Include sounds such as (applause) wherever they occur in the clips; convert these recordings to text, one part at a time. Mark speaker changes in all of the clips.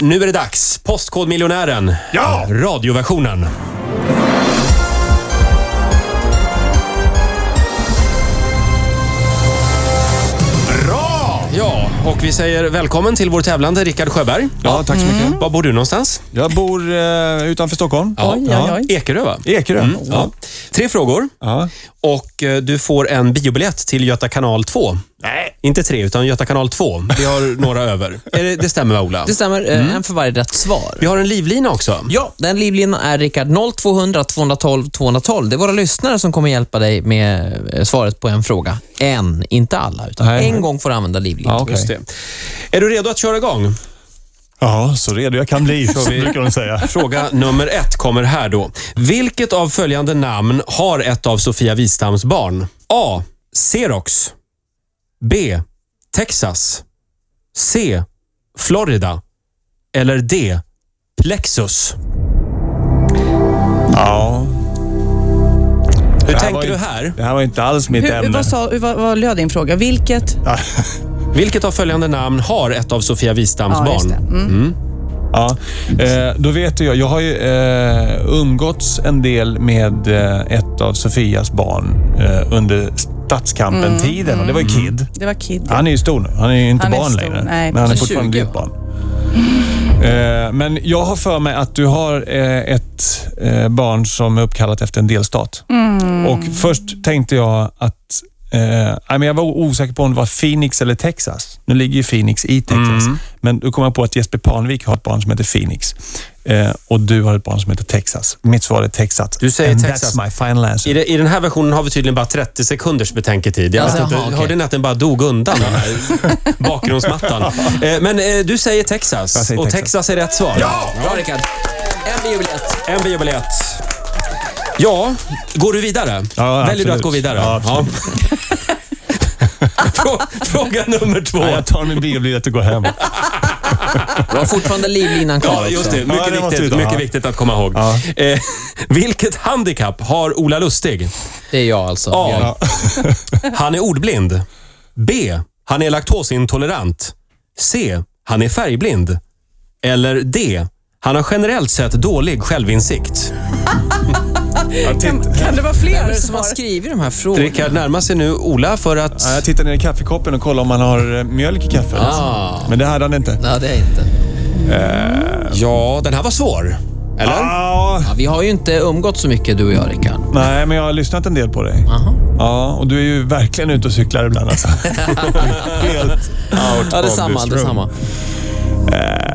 Speaker 1: Nu är det dags. Postkodmiljonären.
Speaker 2: Ja!
Speaker 1: Radioversionen.
Speaker 2: Bra!
Speaker 1: Ja, och vi säger välkommen till vår tävlande Rickard Sjöberg.
Speaker 2: Ja, Mm. tack så mycket.
Speaker 1: Var bor du någonstans?
Speaker 2: Jag bor eh, utanför Stockholm.
Speaker 1: Ja.
Speaker 3: Oj, oj, oj.
Speaker 1: Ekerö, va?
Speaker 2: Ekerö.
Speaker 1: Ja. Tre frågor.
Speaker 2: Ja.
Speaker 1: Och eh, du får en biobiljett till Göta kanal 2.
Speaker 2: Nej.
Speaker 1: Inte tre, utan Göta kanal 2. Vi
Speaker 2: (laughs)
Speaker 1: har några över. Är det, det stämmer, va, Ola?
Speaker 3: Det stämmer, eh, en för varje rätt svar.
Speaker 1: Vi har en livlina också.
Speaker 3: Ja, den livlinan är Rickard 0200 212 212. Det är våra lyssnare som kommer hjälpa dig med eh, svaret på en fråga. En, inte alla, utan
Speaker 2: Nej.
Speaker 3: en gång får du använda livlinan.
Speaker 2: Ja, okej.
Speaker 1: Just det. Är du redo att köra igång?
Speaker 2: Ja, så redo jag kan (laughs) bli, så brukar de säga. (laughs)
Speaker 1: Fråga nummer ett kommer här då. Vilket av följande namn har ett av Sofia Wistams barn? A. Xerox. B. Texas. C. Florida. Eller D. Plexus.
Speaker 2: Ja.
Speaker 1: Hur
Speaker 2: Det här var
Speaker 1: tänker du
Speaker 2: inte-
Speaker 1: här?
Speaker 2: Det här var inte alls mitt
Speaker 4: Hur,
Speaker 2: ämne.
Speaker 4: vad, sa, hur, vad, vad löd din fråga? Vilket?
Speaker 1: Vilket av följande namn har ett av Sofia Wistams
Speaker 4: Ja, just
Speaker 1: barn?
Speaker 4: det. Mm.
Speaker 2: Ja, eh, då vet ju jag. Jag har ju eh, umgåtts en del med eh, ett av Sofias barn eh, under Stadskampen-tiden och det var ju Kid.
Speaker 4: Det var Kid.
Speaker 2: Han är ju stor nu. Han är ju inte
Speaker 4: Han är
Speaker 2: barn
Speaker 4: stor,
Speaker 2: längre.
Speaker 4: nej, alltså
Speaker 2: men han är
Speaker 4: precis.
Speaker 2: fortfarande
Speaker 3: 20,
Speaker 2: ditt barn. Eh, Men jag har för mig att du har eh, ett eh, barn som är uppkallat efter en delstat.
Speaker 4: Mm.
Speaker 2: Och först tänkte jag att... Eh, nej, men jag var osäker på om det var Phoenix eller Texas. Nu ligger ju Phoenix i Texas.
Speaker 1: Mm.
Speaker 2: Men då kom jag på att Jesper Parnevik har ett barn som heter Phoenix. Eh, och du har ett barn som heter Texas. Mitt svar är Texas.
Speaker 1: Du säger
Speaker 2: And
Speaker 1: Texas.
Speaker 2: That's my final answer.
Speaker 1: I, det, I den här versionen har vi tydligen bara 30 sekunders betänketid. Jag
Speaker 3: Alltså,
Speaker 1: vet inte,
Speaker 3: jaha, okej.
Speaker 1: Hörde ni att den bara dog undan, den
Speaker 2: (laughs)
Speaker 1: här bakgrundsmattan? Eh, Men eh, du säger Texas
Speaker 2: Jag säger
Speaker 1: och
Speaker 2: Texas.
Speaker 1: Texas är rätt svar.
Speaker 3: Bra Rickard. En biobiljett.
Speaker 1: En biobiljett. Ja, går du vidare?
Speaker 2: Ja,
Speaker 1: Väljer du
Speaker 2: absolut.
Speaker 1: att gå vidare?
Speaker 2: Ja, absolut.
Speaker 1: Ja. (laughs) Frå- Fråga nummer två.
Speaker 2: Nej, jag tar min biobiljett och går
Speaker 1: (laughs)
Speaker 2: hem.
Speaker 3: Du har fortfarande livlinan kvar
Speaker 1: Ja, just
Speaker 3: också.
Speaker 1: det.
Speaker 2: Ja, det
Speaker 1: Mycket,
Speaker 2: måste vi
Speaker 1: viktigt,
Speaker 2: ta.
Speaker 1: mycket
Speaker 2: Ja.
Speaker 1: viktigt att komma ihåg.
Speaker 2: Ja.
Speaker 1: Eh, vilket handikapp har Ola Lustig?
Speaker 3: Det är jag alltså.
Speaker 1: Ja.
Speaker 3: Jag,
Speaker 1: (laughs) Han är ordblind. B. Han är laktosintolerant. C. Han är färgblind. Eller D. Han har generellt sett dålig självinsikt.
Speaker 2: Jag titt-
Speaker 4: Kan det vara fler
Speaker 3: vem är det som har
Speaker 4: svar?
Speaker 3: skrivit de här frågorna?
Speaker 1: Rickard närmar sig nu Ola för att...
Speaker 2: Ja, jag tittar ner i kaffekoppen och kollar om han har eh, mjölk i kaffet.
Speaker 1: Ah.
Speaker 2: Men det hade han inte.
Speaker 3: Nej, det är inte.
Speaker 1: Ja, den här var svår. Eller?
Speaker 2: Ah,
Speaker 3: Ja, vi har ju inte umgått så mycket du och jag Rickard.
Speaker 2: nej, men jag har lyssnat en del på dig.
Speaker 3: Aha.
Speaker 2: Ja, och du är ju verkligen ute och cyklar ibland alltså. Helt out
Speaker 3: Ja,
Speaker 2: of
Speaker 3: detsamma.
Speaker 2: this
Speaker 3: detsamma.
Speaker 2: Eh,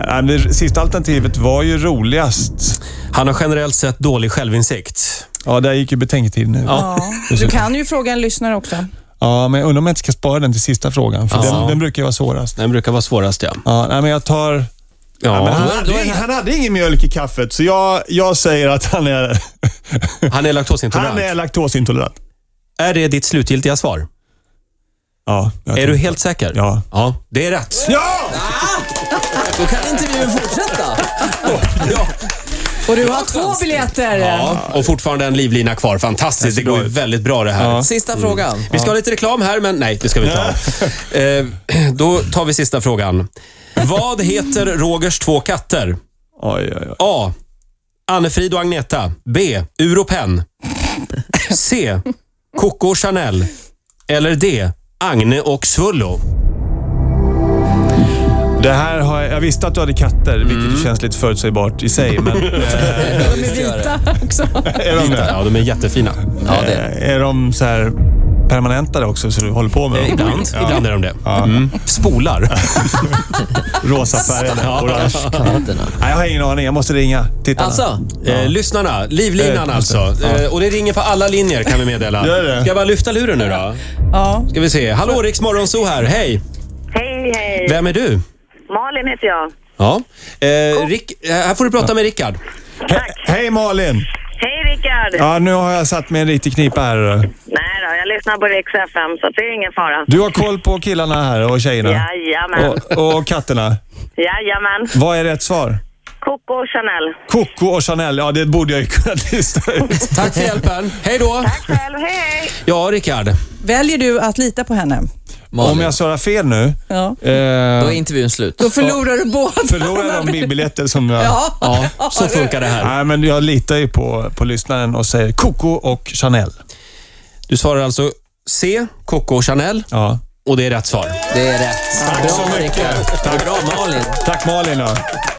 Speaker 2: nej, men det sista alternativet var ju roligast.
Speaker 1: Han har generellt sett dålig självinsikt.
Speaker 2: Ja, där gick ju betänketiden nu. Ja.
Speaker 4: Ja. Du kan ju fråga en lyssnare också.
Speaker 2: men jag undrar om jag inte ska spara den till sista frågan, för
Speaker 1: Ja.
Speaker 2: den, den brukar ju vara svårast.
Speaker 1: Den brukar vara svårast, ja.
Speaker 2: Ja, nej, men jag tar... Ja, men han,
Speaker 1: ja.
Speaker 2: hade, ingen- han hade ingen mjölk i kaffet, så jag, jag säger att han är, (laughs)
Speaker 1: Han är
Speaker 2: han
Speaker 1: laktosintolerant.
Speaker 2: är laktosintolerant.
Speaker 1: Är det ditt slutgiltiga svar?
Speaker 2: Ja, jag
Speaker 1: Är
Speaker 2: tror-
Speaker 1: du helt säker?
Speaker 2: Ja.
Speaker 1: Ja, det är rätt.
Speaker 2: Ja!
Speaker 3: Då kan intervjun fortsätta. ja.
Speaker 4: Och du har två biljetter.
Speaker 1: Ja, och fortfarande en livlina kvar. Fantastiskt. Det
Speaker 2: ser bra
Speaker 1: går ju
Speaker 2: ut.
Speaker 1: väldigt bra det här.
Speaker 3: Sista frågan.
Speaker 1: Vi ska ha lite reklam här, men nej, det ska vi inte ha. (laughs) Eh, Då tar vi sista frågan. Vad heter Rogers två katter?
Speaker 2: Oj, oj, oj.
Speaker 1: A. Annefrid och Agneta. B. Uropen. C. Coco och Chanel. Eller D. Agne och Svullo.
Speaker 2: Det här har jag, jag visste att du hade katter, vilket känns lite förutsägbart i sig. Men
Speaker 4: De är vita också.
Speaker 2: är de, det?
Speaker 1: Ja, de är jättefina.
Speaker 3: Ja, det.
Speaker 2: Eh, är de så här permanentade också, så du håller på med dem?
Speaker 1: Ibland, ibland är de det. Mm. Spolar.
Speaker 2: Rosa färgade,
Speaker 1: Ja.
Speaker 2: orange. Nej, jag har ingen aning. Jag måste ringa tittarna.
Speaker 3: Alltså,
Speaker 1: Eh, lyssnarna, livlinan
Speaker 2: Eh,
Speaker 1: alltså. Eh, och det ringer på alla linjer kan vi meddela.
Speaker 2: Gör det?
Speaker 1: Ska jag bara lyfta luren nu då?
Speaker 4: Ja.
Speaker 1: Ska vi se. Hallå, Riks Morgonzoo här. Hej!
Speaker 5: Hej, hej.
Speaker 1: Vem är du?
Speaker 5: Malin heter jag.
Speaker 1: Ja. Eh, Rick, eh, här får du prata med Rickard.
Speaker 2: He- hej Malin!
Speaker 5: Hej, Rickard.
Speaker 2: Ja, nu har jag satt mig i en riktig knipa här.
Speaker 5: Nej då, jag lyssnar på Rix FM, så det är ingen fara.
Speaker 2: Du har koll på killarna här och tjejerna?
Speaker 5: Jajamän.
Speaker 2: Och, och katterna.
Speaker 5: Jajamän.
Speaker 2: Vad är rätt svar?
Speaker 5: Coco och Chanel.
Speaker 2: Coco och Chanel. Ja, det borde jag ju kunna (laughs) lista ut.
Speaker 1: Tack (laughs) för hjälpen. Hej då!
Speaker 5: Tack själv. Hej, hej.
Speaker 1: Ja, Rickard.
Speaker 4: Väljer du att lita på henne?
Speaker 3: Malin.
Speaker 2: Om jag svarar fel nu,
Speaker 4: Ja.
Speaker 2: eh,
Speaker 3: Då är intervjun slut.
Speaker 4: Då förlorar du båda.
Speaker 2: förlorar
Speaker 4: (laughs)
Speaker 2: jag de biljetter som jag...
Speaker 4: Ja.
Speaker 1: Ja, så funkar det här.
Speaker 2: Nej, men jag litar ju på, på lyssnaren och säger Coco och Chanel.
Speaker 1: Du svarar alltså C, Coco och Chanel
Speaker 2: Ja.
Speaker 1: och det är rätt svar.
Speaker 3: Det är rätt. Tack Bra, så mycket. Bra Malin.
Speaker 2: Tack Malin. då.